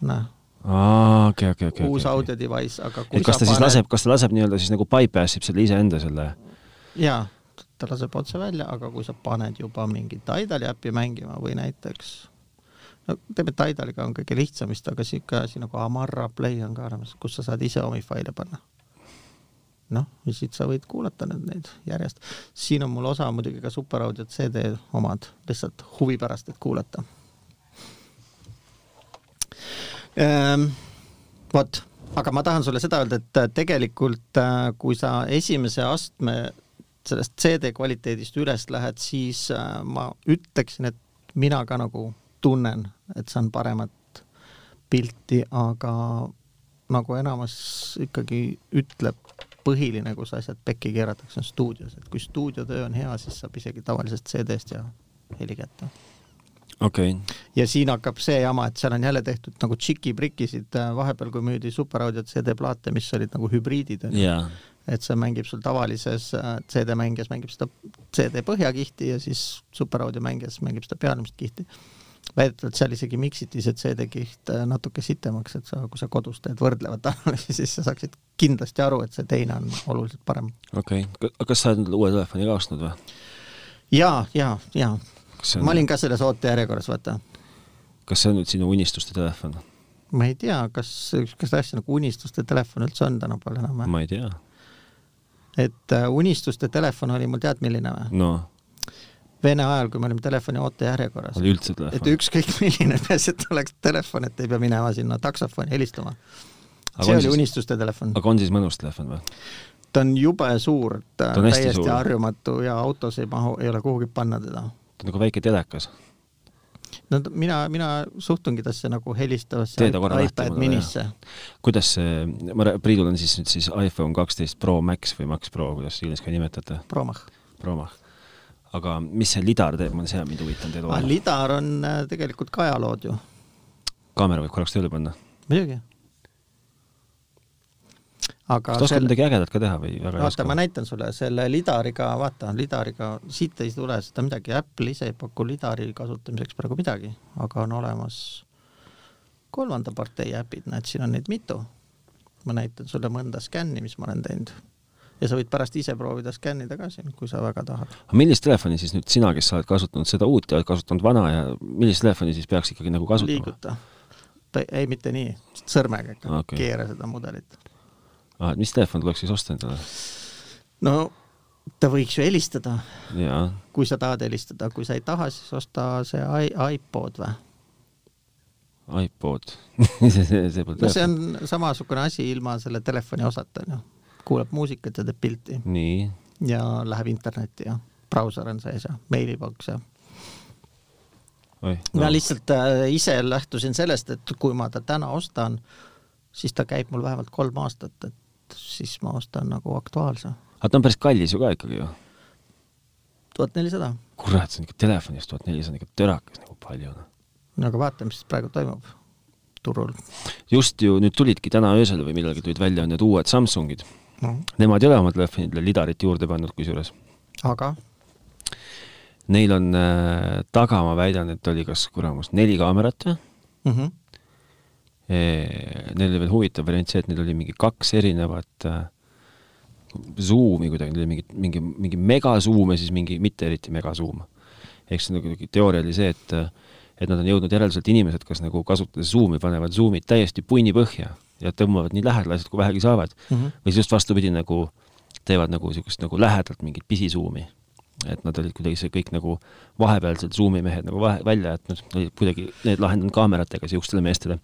B: näe
A: aa , okei , okei , okei .
B: uus . audio device , aga kui
A: et kas
B: sa
A: ta siis
B: paned-
A: laseb , kas ta laseb nii-öelda siis nagu bypass ib selle iseenda selle ,
B: jaa , ta laseb otse välja , aga kui sa paned juba mingi Tidali äppi mängima või näiteks no teeme Tidaliga on kõige lihtsam vist , aga siuke asi nagu Amarra Play on ka olemas , kus sa saad ise omi faile panna . noh , ja siit sa võid kuulata nüüd neid järjest . siin on mul osa muidugi ka superaudio CD omad , lihtsalt huvi pärast , et kuulata ähm, . vot , aga ma tahan sulle seda öelda , et tegelikult äh, kui sa esimese astme sellest CD kvaliteedist üles lähed , siis äh, ma ütleksin , et mina ka nagu tunnen , et saan paremat pilti , aga nagu enamus ikkagi ütleb , põhiline , kus asjad pekki keeratakse , on stuudios , et kui stuudiotöö on hea , siis saab isegi tavalisest CD-st ja heli kätte
A: okei okay. ,
B: ja siin hakkab see jama , et seal on jälle tehtud nagu tšiki-prikisid äh, vahepeal , kui müüdi superaudiot CD-plaate , mis olid nagu hübriidid onju
A: jaa .
B: et see mängib sul tavalises äh, CD-mängijas mängib seda CD põhjakihti ja siis superaudio mängijas mängib seda pealmist kihti . väidetavalt seal isegi miksiti see CD-kiht äh, natuke sitemaks , et sa , kui sa kodus teed võrdlevat analüüsi , siis sa saaksid kindlasti aru , et see teine on oluliselt parem .
A: okei okay. , kas sa oled endale uue telefoni ka ostnud või ?
B: ja , ja , ja
A: kas see
B: ma
A: on ,
B: olin ka selles ootejärjekorras , vaata
A: kas see on nüüd sinu unistuste telefon ?
B: ma ei tea , kas , kas asja nagu unistuste telefon üldse on tänapäeval enam või ?
A: ma ei tea .
B: et äh, unistuste telefon oli mul tead milline või ?
A: no ,
B: Vene ajal , kui me olime telefoni ootejärjekorras .
A: oli üldse
B: et
A: telefon .
B: ükskõik milline , peaasi , et oleks telefon , et ei pea minema sinna taksofoni helistama .
A: Aga
B: see
A: on
B: oli
A: siis-
B: unistuste telefon .
A: aga on siis mõnus telefon või ?
B: ta on jube suur ,
A: Ta
B: ta
A: on
B: on
A: hästi
B: täiesti
A: suur.
B: harjumatu ja autos ei mahu , ei ole kuhugi panna teda .
A: ta on nagu väike telekas .
B: no ta- mina , mina suhtungi tasse nagu helistavasse
A: Tee ta korra lahti,
B: iPad
A: mul on
B: minisse .
A: kuidas see , ma rää- Priidul on siis nüüd siis iPhone kaksteist Pro Max või Max Pro , kuidas iganes ka nimetate ,
B: Promah .
A: Pro Max . aga mis see lidar teeb , ma see on mind huvitav teie
B: aga
A: toa .
B: Ah, lidar on äh, tegelikult ka ajalood ju .
A: kaamera võib korraks tööle panna .
B: muidugi .
A: kas ta
B: aga
A: oskab
B: selle ,
A: midagi ägedat ka teha või väga ei
B: vaata , ma
A: oska ?
B: näitan sulle selle lidariga , vaata , lidariga siit ei tule seda midagi , Apple ise ei paku lidari kasutamiseks praegu midagi , aga on olemas kolmanda partei äpid , näed , siin on neid mitu . ma näitan sulle mõnda skänni , mis ma olen teinud . ja sa võid pärast ise proovida skännida ka siin , kui sa väga tahad .
A: aga millist telefoni siis nüüd sina , kes sa oled kasutanud seda uut ja oled kasutanud vana ja millist telefoni siis peaks ikkagi nagu kasutama ?
B: liiguta . ei , mitte nii , sõrmega ikka
A: Okei.
B: okay. , keera seda mudelit .
A: aa , Ah, et mis telefon tuleks siis osta endale ?
B: no ta võiks ju helistada ,
A: jaa ,
B: kui sa tahad helistada , kui sa ei taha , siis osta see i- iPod või ?
A: iPod . see , see , see pole
B: no see
A: telefon .
B: on samasugune asi ilma selle telefoni osata , onju . kuulab muusikat ja teeb pilti
A: nii ,
B: ja läheb internetti ja brauser on sees ja mailibox ja .
A: oih
B: ma . lihtsalt äh, ise lähtusin sellest , et kui ma ta täna ostan , siis ta käib mul vähemalt kolm aastat , et siis ma ostan nagu aktuaalse .
A: aga ta on päris kallis ju ka ikkagi ju .
B: tuhat nelisada .
A: kurat , see on ikka telefoni eest tuhat nelisada on ikka törakas nagu palju noh .
B: no aga vaatame , mis praegu toimub turul
A: just ju nüüd tulidki täna öösel või millalgi tulid välja need uued Samsungid .
B: no. .
A: Nemad ei ole oma telefonidele lidarit juurde pannud kusjuures .
B: aga
A: Neil on äh, taga , ma väidan , et oli kas kuramus neli kaamerat või ?
B: mm . -hmm.
A: Neil oli veel huvitav variant see , et neil oli mingi kaks erinevat äh, Zoom'i kuidagi , neil oli mingi , mingi , mingi megasuum ja siis mingi mitte eriti megasuum . ehk siis nagu teooria oli see , et äh, et nad on jõudnud järelduselt inimesed , kes nagu kasutades Zoom'i , panevad Zoom'id täiesti punni põhja ja tõmbavad nii lähedale asjad , kui vähegi saavad .
B: Mm -hmm.
A: või siis just vastupidi , nagu teevad nagu niisugust nagu lähedalt mingit pisisuumi . et nad olid kuidagi see kõik nagu vahepealsed Zoom'i mehed nagu vahe , välja jätnud , olid kuidagi need lahendanud kaameratega niisugustele meestele .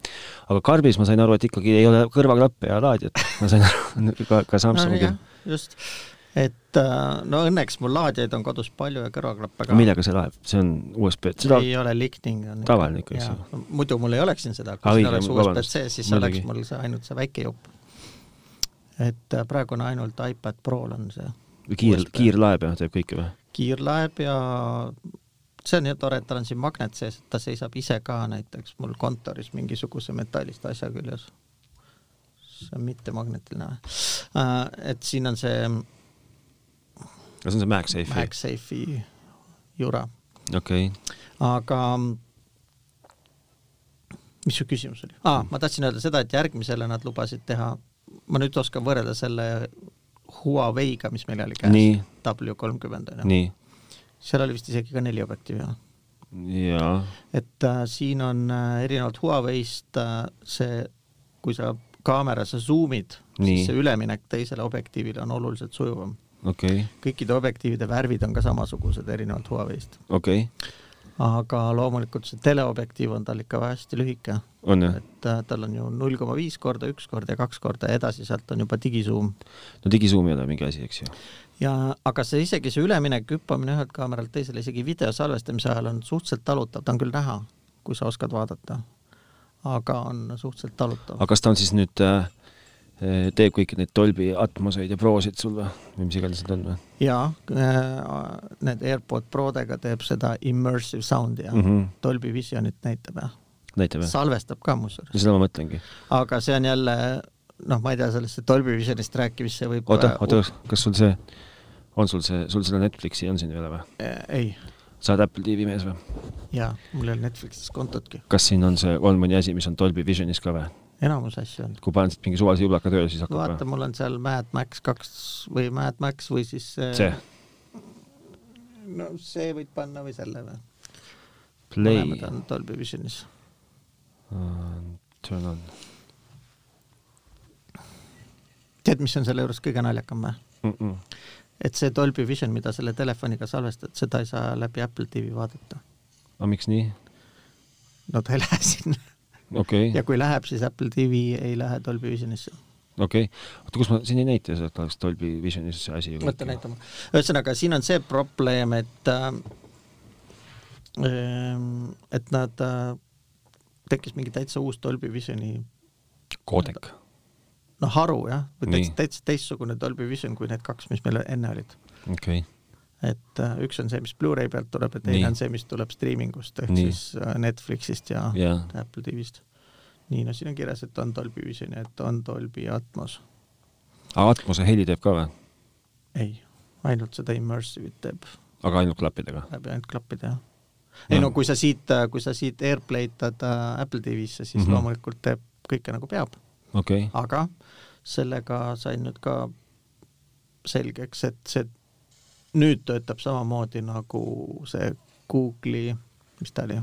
A: aga karbis ma sain aru , et ikkagi ei ole kõrvaklappe ja laadijat , ma sain aru ka , ka Samsungil no, .
B: just , et äh, no õnneks mul laadijaid on kodus palju ja kõrvaklappe ka .
A: millega see laeb , see on USB-d , seda
B: ei ole Lightning on .
A: Tavaline ikka, eks ju. .
B: muidu mul ei oleks siin seda , kui
A: Aa,
B: siin
A: õige,
B: oleks
A: vabandust.
B: USB-C , siis
A: Muidugi.
B: Muidugi. oleks mul see ainult see väike jupp . et äh, praegu on ainult iPad Prol on see
A: kiir ,
B: USB.
A: kiirlaeb ja teeb kõike või ?
B: kiirlaeb ja see on ju tore , et tal on siin magnet sees , et ta seisab ise ka näiteks mul kontoris mingisuguse metallist asja küljes . see on mittemagnetiline või ? et siin on see
A: no see on see MagSafe'i ,
B: MagSafe'i jura ,
A: okei okay. .
B: aga mm, mis su küsimus oli ah, ?
A: Mm.
B: ma tahtsin öelda seda , et järgmisele nad lubasid teha , ma nüüd oskan võrrelda selle Huawei'ga , mis meil oli
A: Nii.
B: käes , W kolmkümmend on ju ,
A: nii ,
B: seal oli vist isegi ka neli objektiivi jah
A: jaa ,
B: et äh, siin on äh, erinevalt Huawei'st äh, see , kui sa kaamerasse zoom'id ,
A: Nii.
B: siis see üleminek teisele objektiivile on oluliselt sujuvam .
A: okei okay. ,
B: kõikide objektiivide värvid on ka samasugused erinevalt Huawei'st ,
A: okei okay. ,
B: aga loomulikult see teleobjektiiv on tal ikka hästi lühike ,
A: on jah ?
B: et äh, tal on ju null koma viis korda , üks kord ja kaks korda ja edasi sealt on juba digisuum
A: no digisuum ei ole mingi asi , eks ju .
B: ja aga see isegi see üleminek , hüppamine ühelt kaameralt teisele , isegi video salvestamise ajal on suhteliselt talutav , ta on küll näha , kui sa oskad vaadata , aga on suhteliselt talutav .
A: aga kas ta on siis nüüd äh, , teeb kõiki neid Dolby Atmoseid ja Prosid sul või , või mis iganes need on või
B: ja äh, need AirPod Prodega teeb seda immersive sound'i ja
A: mm
B: mm -hmm.
A: -hmm. ?
B: Dolby Visionit näitab ja
A: näitab jah ?
B: salvestab ka muuseas ,
A: seda ma mõtlengi .
B: aga see on jälle noh , ma ei tea , sellest Dolby Visionist rääkimist , see võib
A: oota , oota , kas sul see , on sul see , sul seda Netflixi on siin ei ole või ?
B: Äh, ei ,
A: sa oled Apple TV mees või ?
B: jaa , mul ei ole Netflixis kontotki ,
A: kas siin on see , on mõni asi , mis on Dolby Visionis ka või ?
B: enamus asju on
A: kui panen siit mingi suvalise jublaka tööle , siis
B: no
A: hakkab
B: vaata ,
A: või ?
B: mul on seal Mad Max kaks või Mad Max või siis äh,
A: see ,
B: no see võid panna või selle või ?
A: play ,
B: on Dolby Visionis .
A: turn on
B: tead , mis on selle juures kõige naljakam või ?
A: mm . -mm.
B: et see Dolby Vision , mida selle telefoniga salvestad , seda ei saa läbi Apple TV vaadata .
A: aga Ah, miks nii ?
B: no ta ei lähe sinna
A: okei
B: ja
A: okay. ,
B: kui läheb , siis Apple TV ei lähe Dolby Visionisse .
A: okei okay. . oota , kus ma , siin ei näita seda , et oleks Dolby Visionis see asi .
B: oota , näita . mulle . ühesõnaga , siin on see probleem , et ähm, ähm, et nad , tekkis mingi täitsa uus Dolby Visioni
A: koodek .
B: no haru jah , või
A: Nii.
B: täitsa, täitsa teistsugune Dolby Vision kui need kaks , mis meil enne olid .
A: okei okay. .
B: et äh, üks on see , mis Blu-ray pealt tuleb ja teine
A: Nii.
B: Nii. on see , mis tuleb striimingust ehk
A: Nii.
B: Nii. siis äh, Netflixist ja, ja
A: jaa ,
B: Apple TV-st . nii , no siin on kirjas , et on Dolby Vision ja et on Dolby Atmos .
A: aga Atmose heli teeb ka või?
B: ei, ainult seda immersive'it teeb
A: aga ainult klappidega?
B: läbi ainult klappide, jah. ei no kui sa siit, kui sa siit AirPlay tad äh, Apple TV-sse, siis mm
A: Mhm.
B: -hmm. loomulikult teeb kõike nagu peab,
A: okei okay. ,
B: aga sellega sai nüüd ka selgeks, et see nüüd töötab samamoodi nagu see Google'i , mis ta oli ,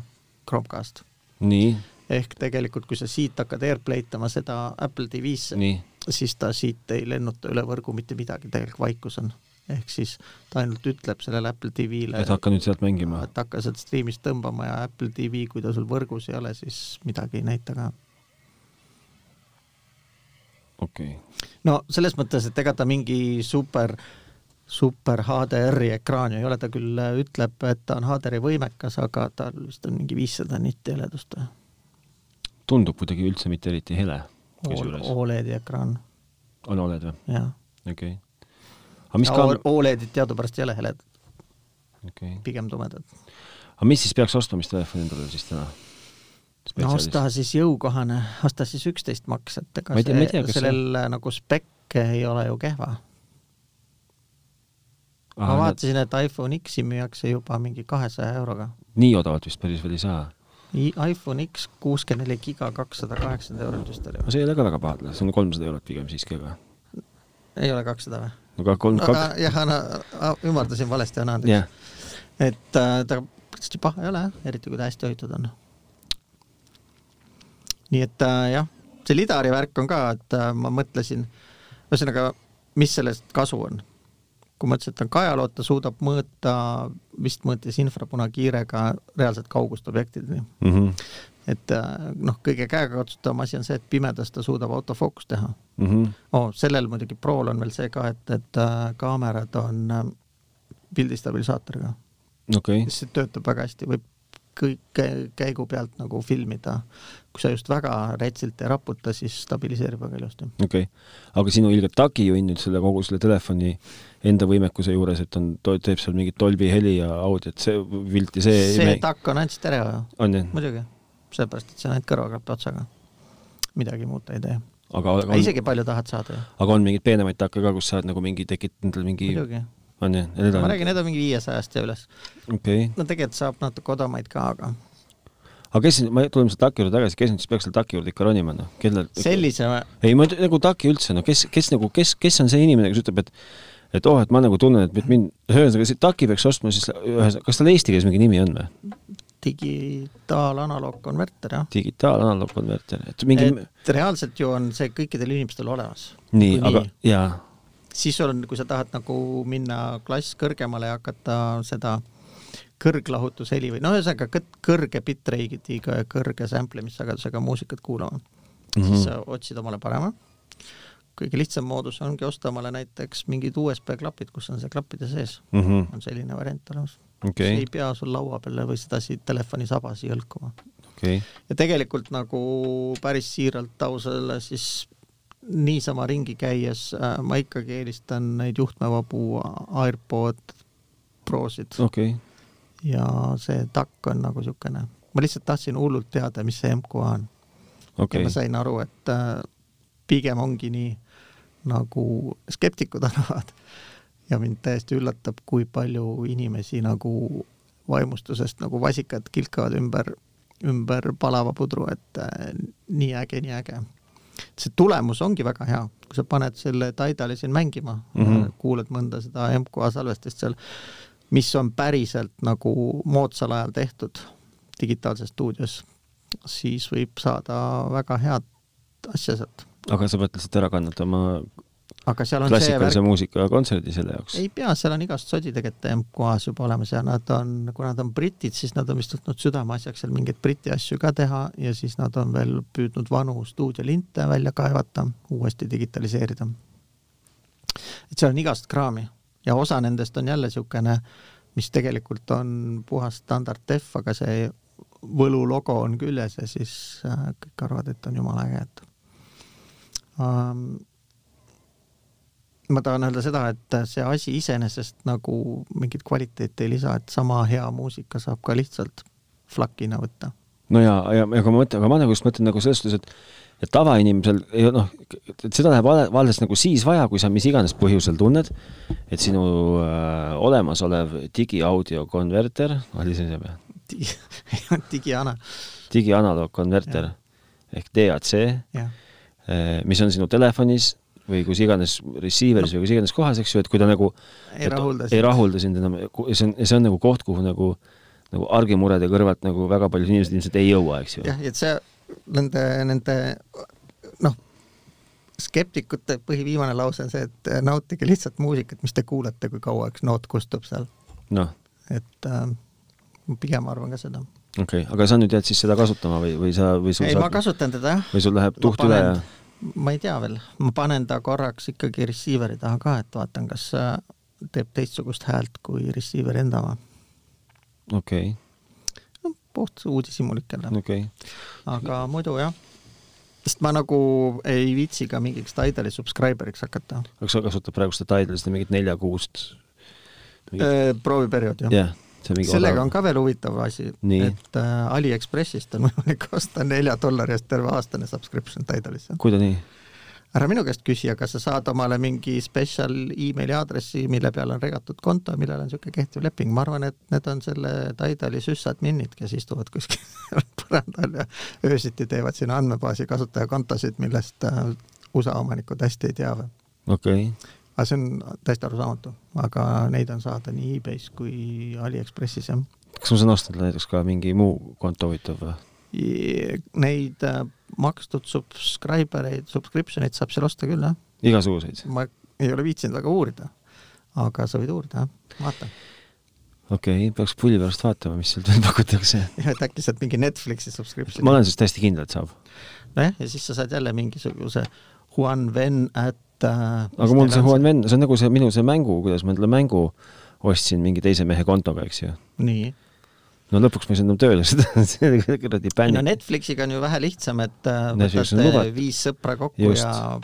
B: Chromecast .
A: nii ,
B: ehk tegelikult , kui sa siit hakkad AirPlay tama seda Apple TV-sse ,
A: nii ,
B: siis ta siit ei lennuta üle võrgu mitte midagi , tegelikult vaikus on . ehk siis ta ainult ütleb sellele Apple TV-le
A: et hakka nüüd sealt mängima .
B: et hakka sealt striimist tõmbama ja Apple TV , kui ta sul võrgus ei ole , siis midagi ei näita ka .
A: okei okay. ,
B: no selles mõttes , et ega ta mingi super , super HDR-i ekraan ju ei ole , ta küll äh, ütleb , et ta on HDR-i võimekas , aga tal vist on mingi viissada nitti heledust äh, või ?
A: tundub kuidagi üldse mitte eriti hele , kusjuures .
B: Oledi E ekraan ,
A: on oled või ?
B: jah .
A: okei okay. . aga mis kaam- ,
B: Oledid E teadupärast ei ole heledad ,
A: okei okay. ,
B: pigem tumedad .
A: aga mis siis peaks ostma , mis telefoni endale siis täna ?
B: no osta siis jõukohane , osta siis üksteist maks , et ega
A: Ma ei tea- ma ei tea,
B: see ,
A: kas see-
B: sellel nagu spekk ei ole ju kehva ma vaatasin , et iPhone X-i müüakse juba mingi kahesaja euroga .
A: nii odavalt vist päris veel ei saa .
B: iPhone X kuuskümmend neli giga , kakssada kaheksakümmend eurot vist oli
A: no
B: või ?
A: see ei ole ka väga paha , see on kolmsada eurot pigem siiski , aga
B: ei ole kakssada või ?
A: aga kolm ,
B: aga
A: kaks ,
B: jah , ümardasin valesti , anna andeks
A: jah
B: yeah. .. et äh, ta hästi paha ei ole , eriti kui ta hästi hoitud on . nii et äh, jah , see lidari värk on ka , et äh, ma mõtlesin , ühesõnaga , mis sellest kasu on ? kui ma ütlesin , et ta on kajaloot , ta suudab mõõta , vist mõõtis infrapunakiirega reaalselt kaugust objektideni
A: Mm -hmm.
B: et äh, noh , kõige käegakatsutavam asi on see , et pimedas ta suudab autofookus teha
A: mm -hmm.
B: oh, . sellel muidugi Prol on veel see ka , et , et äh, kaamerad on äh, pildistabilisaatoriga ,
A: okei okay. ,
B: see töötab väga hästi , võib kõik käigu pealt nagu filmida . kui sa just väga retsilt ei raputa , siis stabiliseerib väga ilusti .
A: okei okay. . aga sinu ilgelt takijuhin nüüd selle kogu selle telefoni enda võimekuse juures , et on , teeb seal mingit Dolby heli ja audiot , see vilti , see,
B: see
A: ei
B: me...
A: mäng-
B: takk on ainult stereo ju ,
A: on jah ,
B: muidugi , sellepärast et see on ainult kõrvaklapi otsaga . midagi muud ta ei tee .
A: aga , aga on,
B: isegi palju tahad saada ju ,
A: aga on mingeid peenemaid takke ka , kus saad nagu mingi tekitad endale mingi ,
B: muidugi .
A: on jah , need
B: ma
A: on ,
B: räägin , need on mingi viiesajast ja üles .
A: okei .
B: no tegelikult saab natuke odavamaid ka , aga
A: aga kes , ma tuleme selle taki juurde tagasi , kes nüüd siis peaks selle taki juurde ikka ronima , noh , kellel
B: sellise ,
A: ei , ma ei tea, nagu taki üldse , no kes , kes nagu , kes , kes on see inimene , kes ütleb , et et oh , et ma nagu tunnen , et nüüd mind , ühesõnaga see taki peaks ostma siis ühes , kas tal eesti keeles mingi nimi on või ?
B: digitaal-analoogkonverter , jah .
A: digitaal-analoogkonverter , et mingi et...
B: et reaalselt ju on see kõikidel inimestel olemas .
A: nii , aga jaa ,
B: siis sul on , kui sa tahad nagu minna klass kõrgemale ja hakata seda kõrglahutusheli või no ühesõnaga kõt- kõrge bitrate'iga ja kõrge sample imissagedusega muusikat kuulama mm , -hmm.
A: Mhm.
B: siis sa otsid omale parema . kõige lihtsam moodus ongi osta omale näiteks mingid USB klapid , kus on see klappide sees ,
A: okei
B: on selline variant olemas okay. .
A: Mhm, okei
B: ei , pea sul laua peale või sedasi telefoni sabasi jõlkuma
A: okei ,
B: ja tegelikult nagu päris siiralt ausale , siis niisama ringi käies äh, ma ikkagi eelistan neid juhtmevabu AirPod Prosid
A: okei ,
B: ja see takk on nagu niisugune , ma lihtsalt tahtsin hullult teada , mis see MQA on ja
A: okei
B: ma , sain aru , et äh, pigem ongi nii , nagu skeptikud arvavad ja mind täiesti üllatab , kui palju inimesi nagu vaimustusest nagu vasikad kilkavad ümber , ümber palava pudru , et äh, nii äge , nii äge . see tulemus ongi väga hea , kui sa paned selle Tidali siin mängima mm ,
A: Mhm.
B: -hmm. kuulad mõnda seda MQA salvestist seal , mis on päriselt nagu moodsal ajal tehtud digitaalses stuudios , siis võib saada väga head asja sealt .
A: aga sa pead lihtsalt ära kannatama
B: aga seal on see värk
A: klassikalise , muusika kontserdi selle jaoks .
B: ei pea , seal on igast sodi tegelikult MQA-s juba olemas ja nad on , kuna nad on britid , siis nad on vist võtnud südameasjaks seal mingeid briti asju ka teha ja siis nad on veel püüdnud vanu stuudiolinte välja kaevata , uuesti digitaliseerida . et seal on igast kraami ja osa nendest on jälle niisugune , mis tegelikult on puhas standard def , aga see võlu logo on küljes ja siis äh, kõik arvavad , et on jumala äge , et ähm, ma tahan öelda seda , et see asi iseenesest nagu mingit kvaliteeti ei lisa , et sama hea muusika saab ka lihtsalt flakina võtta .
A: no ja, ja, ja kui ma mõtlen, aga ma nagu just mõtlen nagu selles suhtes, et et tavainimesel ei noh, et seda läheb vale, valdes nagu siis vaja, kui sa mis iganes põhjusel tunned, et sinu äh, olemasolev digiaudio konverter, oli see see või?
B: digiana,
A: digianaloogkonverter ehk DAC,
B: jah.
A: Äh, mis on sinu telefonis või kus iganes receiver'is või kus iganes kohas, eks ju, et kui ta nagu
B: Ei
A: et-
B: rahulda
A: ei
B: sind.
A: rahulda sind enam, see on, see on nagu koht, kuhu nagu nagu argimurede kõrvalt nagu väga paljud inimesed ilmselt ei jõua , eks ju .
B: jah , et see nende , nende noh , skeptikute põhiviimane lause on see , et eh, nautige lihtsalt muusikat , mis te kuulete , kui kaua üks noot kustub seal ,
A: noh,
B: et äh, ma pigem arvan ka seda .
A: okei okay. , aga sa nüüd jääd siis seda kasutama või , või sa , või sul
B: ei , ma
A: saab ,
B: kasutan teda jah ,
A: või sul läheb
B: ma
A: tuht üle ja
B: panen- ma ei tea veel , ma panen ta korraks ikkagi receiver'i taha ka , et vaatan , kas äh, teeb teistsugust häält kui receiver enda oma .
A: okei ,
B: no puht uudishimulikele .
A: okei .
B: aga muidu jah , sest ma nagu ei viitsi ka mingiks Tidali subscriber'iks hakata .
A: aga sa kasutad praegu seda Tidal , seda mingit nelja-kuust ? jah
B: prooviperiood Äh, jah yeah, .
A: yeah, , see on mingi
B: sellega on ka veel huvitav asi ,
A: Nii.
B: et äh, Aliekspressist on võimalik osta nelja dollari eest terve aastane subscription Tidalisse .
A: kuidas nii ?
B: ära minu käest küsi , aga sa saad omale mingi spetsial emaili aadressi , mille peal on regatud konto , millel on niisugune kehtiv leping , ma arvan , et need on selle Tidali süssadminid , kes istuvad kuskil põrandal ja öösiti teevad sinna andmebaasi kasutajakontosid , millest äh, USA omanikud hästi ei tea veel .
A: okei okay. ,
B: aga see on täiesti arusaamatu , aga neid on saada nii e-base kui Aliekspressis jah .
A: kas ma saan osta talle näiteks ka mingi muu konto huvitav või ?
B: Neid äh, makstud subscriber eid , subscription eid saab seal osta küll jah
A: igasuguseid ,
B: ma ei ole viitsinud väga uurida , aga sa võid uurida , vaata .
A: okei okay, , peaks pulli pärast vaatama , mis sealt veel pakutakse .
B: et äkki saad mingi Netflixi subscription'i
A: ma . olen sellest täiesti kindel , et saab .
B: nojah , ja siis sa saad jälle mingisuguse Juan Ven at äh,
A: aga mul see Juan . Venn , see on nagu see minu see mängu , kuidas ma endale mängu ostsin mingi teise mehe kontoga , eks ju .
B: nii .
A: no lõpuks ma ei saanud enam tööle seda , see oli kuradi
B: no
A: bänd .
B: Netflixiga on ju vähe lihtsam , et äh,
A: Netflix on
B: võtate
A: lubatud.
B: viis sõpra kokku
A: Just.
B: Just. ja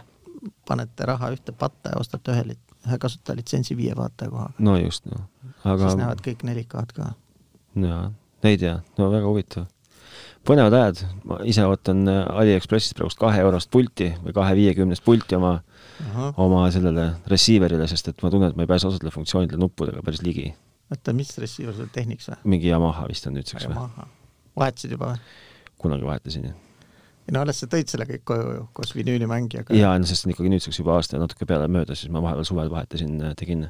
B: panete raha ühte patta ja ostate ühe lit- , ühe kasutaja litsentsi viie vaataja kohaga
A: no just , noh .
B: aga... .
A: aga
B: siis näevad kõik nelikad ka .
A: jaa , ei tea , no väga huvitav . põnevad ajad , ma ise ootan äh, Aliekspressist praegust kahe eurost pulti või kahe viiekümnest pulti oma , oma sellele receiver'ile , sest et ma tunnen , et ma ei pääse osadele funktsioonidele nuppudega päris ligi .
B: oota , mis receiver sul tehniks või ?
A: mingi Yamaha vist on nüüdseks või ?
B: maha . vahetasid juba või ?
A: kunagi vahetasin jah .
B: ei no alles sa tõid selle kõik koju ju , koos vinüülimängijaga .
A: jaa , no noh, sest on ikkagi nüüdseks juba aasta ja natuke peale möödas , siis ma vahepeal suvel vahetasin , tegin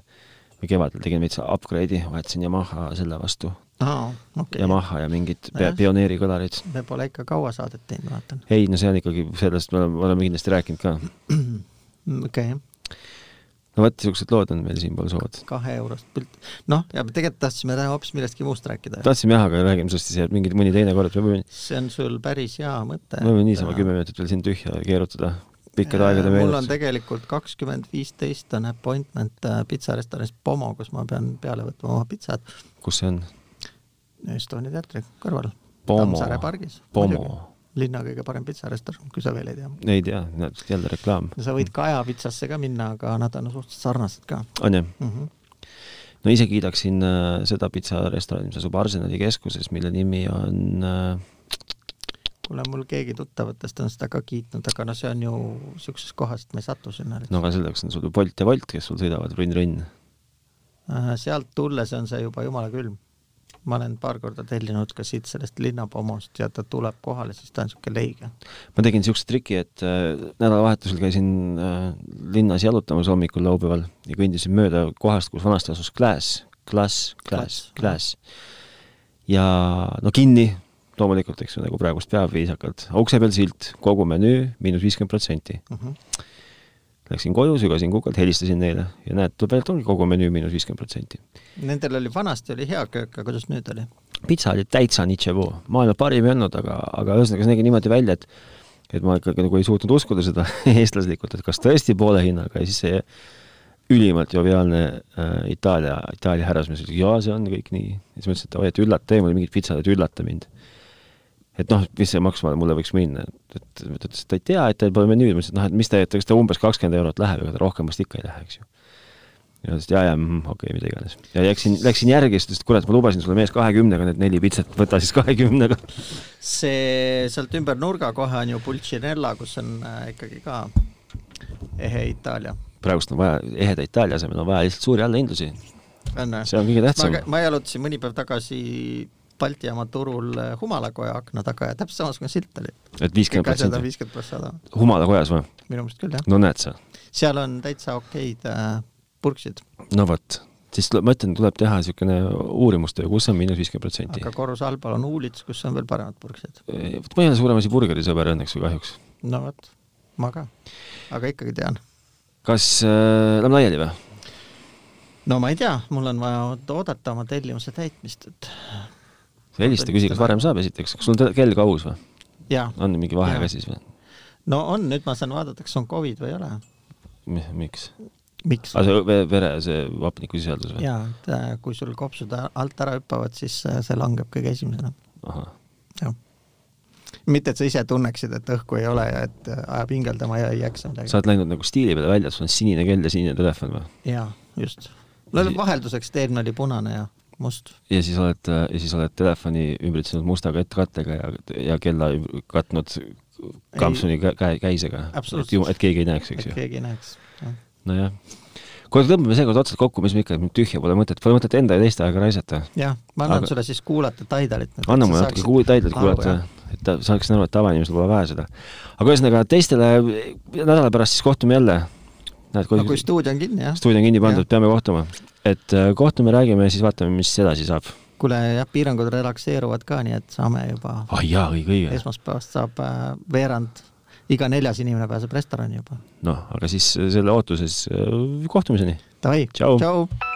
A: või kevadel tegin veits upgrade'i , vahetasin Yamaha selle vastu
B: aa , okei okay. .
A: Yamaha ja mingid
B: Nojah.
A: pioneeri kõlarid .
B: me pole ikka kaua saadet teinud , vaatan .
A: ei , no see on ikkagi , sellest me oleme , oleme kindlasti rääkinud ka
B: Mm, okei okay. ,
A: no vot , niisugused lood on meil siinpool sood .
B: kahe eurost pilt . noh , ja me tegelikult tahtsime täna hoopis millestki muust rääkida .
A: tahtsime jah , aga räägime sellest ise mingi mõni teine kord , me võime ,
B: see on sul päris hea mõte .
A: me võime niisama kümme minutit veel siin tühja keerutada , pikkade aegade
B: mul on
A: meenutus .
B: tegelikult kakskümmend viisteist on appointment äh, pitsarestoranis Pomo , kus ma pean peale võtma oma pitsad
A: kus see on ?
B: Estonia teatri kõrval .
A: Pomo.
B: Tammsaare pargis .
A: Pomo .
B: linna kõige parem pitsarestoran , kui sa veel ei tea .
A: ei tea , näed , jälle reklaam .
B: sa võid Kaja pitsasse ka minna , aga nad on suhteliselt sarnased ka
A: on jah ?
B: mm . -hmm.
A: no ise kiidaksin äh, seda pitsarestorani , mis asub Arsenali keskuses , mille nimi on äh,
B: kuule , mul keegi tuttavatest on seda ka kiitnud , aga no see on ju niisuguses kohas , et ma ei satu sinna
A: no . aga selleks on sul ju Bolt ja Wolt , kes sul sõidavad rünn-rünn .
B: Äh, sealt tulles on see juba jumala külm . ma olen paar korda tellinud ka siit sellest linnapomost ja ta tuleb kohale , siis ta on niisugune leige .
A: ma tegin niisuguse triki , et äh, nädalavahetusel käisin äh, linnas jalutamas hommikul laupäeval ja kõndisin mööda kohast , kus vanasti asus Kläs , Klas , Kläs
B: Klas. ,
A: Kläs . ja no kinni loomulikult , eks ju , nagu praegust peab viisakalt , ukse peal silt , kogu menüü miinus viiskümmend protsenti .
B: Uh -huh.
A: Läksin koju , sügasin kukalt , helistasin neile ja näed , tuleb välja , et ongi kogu menüü miinus viiskümmend protsenti .
B: Nendel oli , vanasti oli hea köök , aga kuidas nüüd oli ?
A: pitsa oli täitsa nitševo , maailma parim ei olnud , aga , aga ühesõnaga see nägi niimoodi välja , et et ma ikkagi nagu ei suutnud uskuda seda eestlaslikult , et kas tõesti poole hinnaga ja siis see ülimalt joviaalne äh, Itaalia , Itaalia härrasmees ütles , jaa , see on kõik nii . ja siis ma ütlesin , et oi , et üllata , ei , mul mingid pitsad , et üllata mind . et noh , mis see maksma mulle võiks minna , et , et ta ütles , et ta ei tea , et tal pole menüüd , ma ütlesin , et noh , et mis ta , et eks ta umbes kakskümmend eurot läheb , ega ta rohkem vast ikka ei lähe , eks ju . ja siis jaa, jaa, okei okay,, mida iganes. ja läksin, läksin järgi, sest kurat, ma lubasin sulle mees kahekümnega need neli pitsat, võta siis kahekümnega.
B: see sealt ümber nurga kohe on ju Pulcinella, kus on äh, ikkagi ka ehe Itaalia.
A: praegust on vaja eheda Itaalia asemel on vaja lihtsalt suuri allahindlusi. see on kõige tähtsam.
B: ma jalutasin mõni päev tagasi Balti jaama turul äh, Humalakoja akna taga ja täpselt samasugune silt oli.
A: et viiskümmend
B: asjad
A: protsenti
B: on . viiskümmend pluss sada,
A: Humalakojas või?
B: minu meelest küll jah .
A: no näed sa.
B: seal on täitsa okeid äh, purksid,
A: no vot, siis tuleb- ma ütlen , tuleb teha niisugune uurimustöö , kus on miinus viiskümmend protsenti Eh,
B: aga . korruse allpool on huulits , kus on veel paremad purksid .
A: ma ei ole suurem asi burgerisõber õnneks või kahjuks .
B: no vot , ma ka , aga ikkagi tean .
A: kas äh, lähme laiali või ?
B: no ma ei tea , mul on vaja oot- oodata oma tellimuse täitmist , et
A: helista , küsi , kas varem saab esiteks , kas sul on te- kell ka uus või ?
B: jaa ,
A: on mingi vahe ka siis või ?
B: no on , nüüd ma saan vaadata , kas on Covid või ei ole .
A: miks ?
B: miks ?
A: aa , Ah, see ve- vere , see hapnikusisaldus või ?
B: jaa , et äh, kui sul kopsud a- alt ära hüppavad , siis äh, see langeb kõige esimesena ,
A: ahah ,
B: jah . mitte , et sa ise tunneksid , et õhku ei ole ja et äh, ajab hingeldama ja ei jaksa midagi .
A: sa oled läinud nagu stiili peale välja , sul on sinine kell ja sinine telefon või ?
B: jaa , just . no vahelduseks teemne oli punane ja must .
A: ja siis oled , ja siis oled telefoni ümbritsenud musta kat- kattega ja , ja kella üm- katnud kampsuni kä- käe , käisega .
B: Absoluutselt.
A: et ju- , et keegi ei näeks ,
B: et
A: eks ju .
B: keegi ei näeks .
A: nojah . kuule , tõmbame seekord otsad kokku , mis me ikka , tühja pole mõtet , pole mõtet enda ja teiste aega raisata .
B: jah , ma annan
A: Aga-
B: aga... sulle siis kuulata Taidalit .
A: anna mulle natuke kuul- , täidlat kuulata , et ta saaks aru , et tavainimesel pole vaja seda . aga ühesõnaga teistele nädala pärast siis kohtume jälle . näed ,
B: aga kui
A: kui
B: stuudio on kinni , jah .
A: stuudio on kinni pandud , peame kohtuma . et äh, kohtume , räägime ja siis vaatame , mis edasi saab .
B: kuule jah , piirangud relakseeruvad ka , nii et saame juba ,
A: ah jaa , õige , õige .
B: esmaspäevast saab äh, veerand , iga neljas inimene pääseb restorani juba
A: noh , aga siis äh, selle ootuses äh, kohtumiseni
B: Davai.
A: Tšau.
B: Tšau.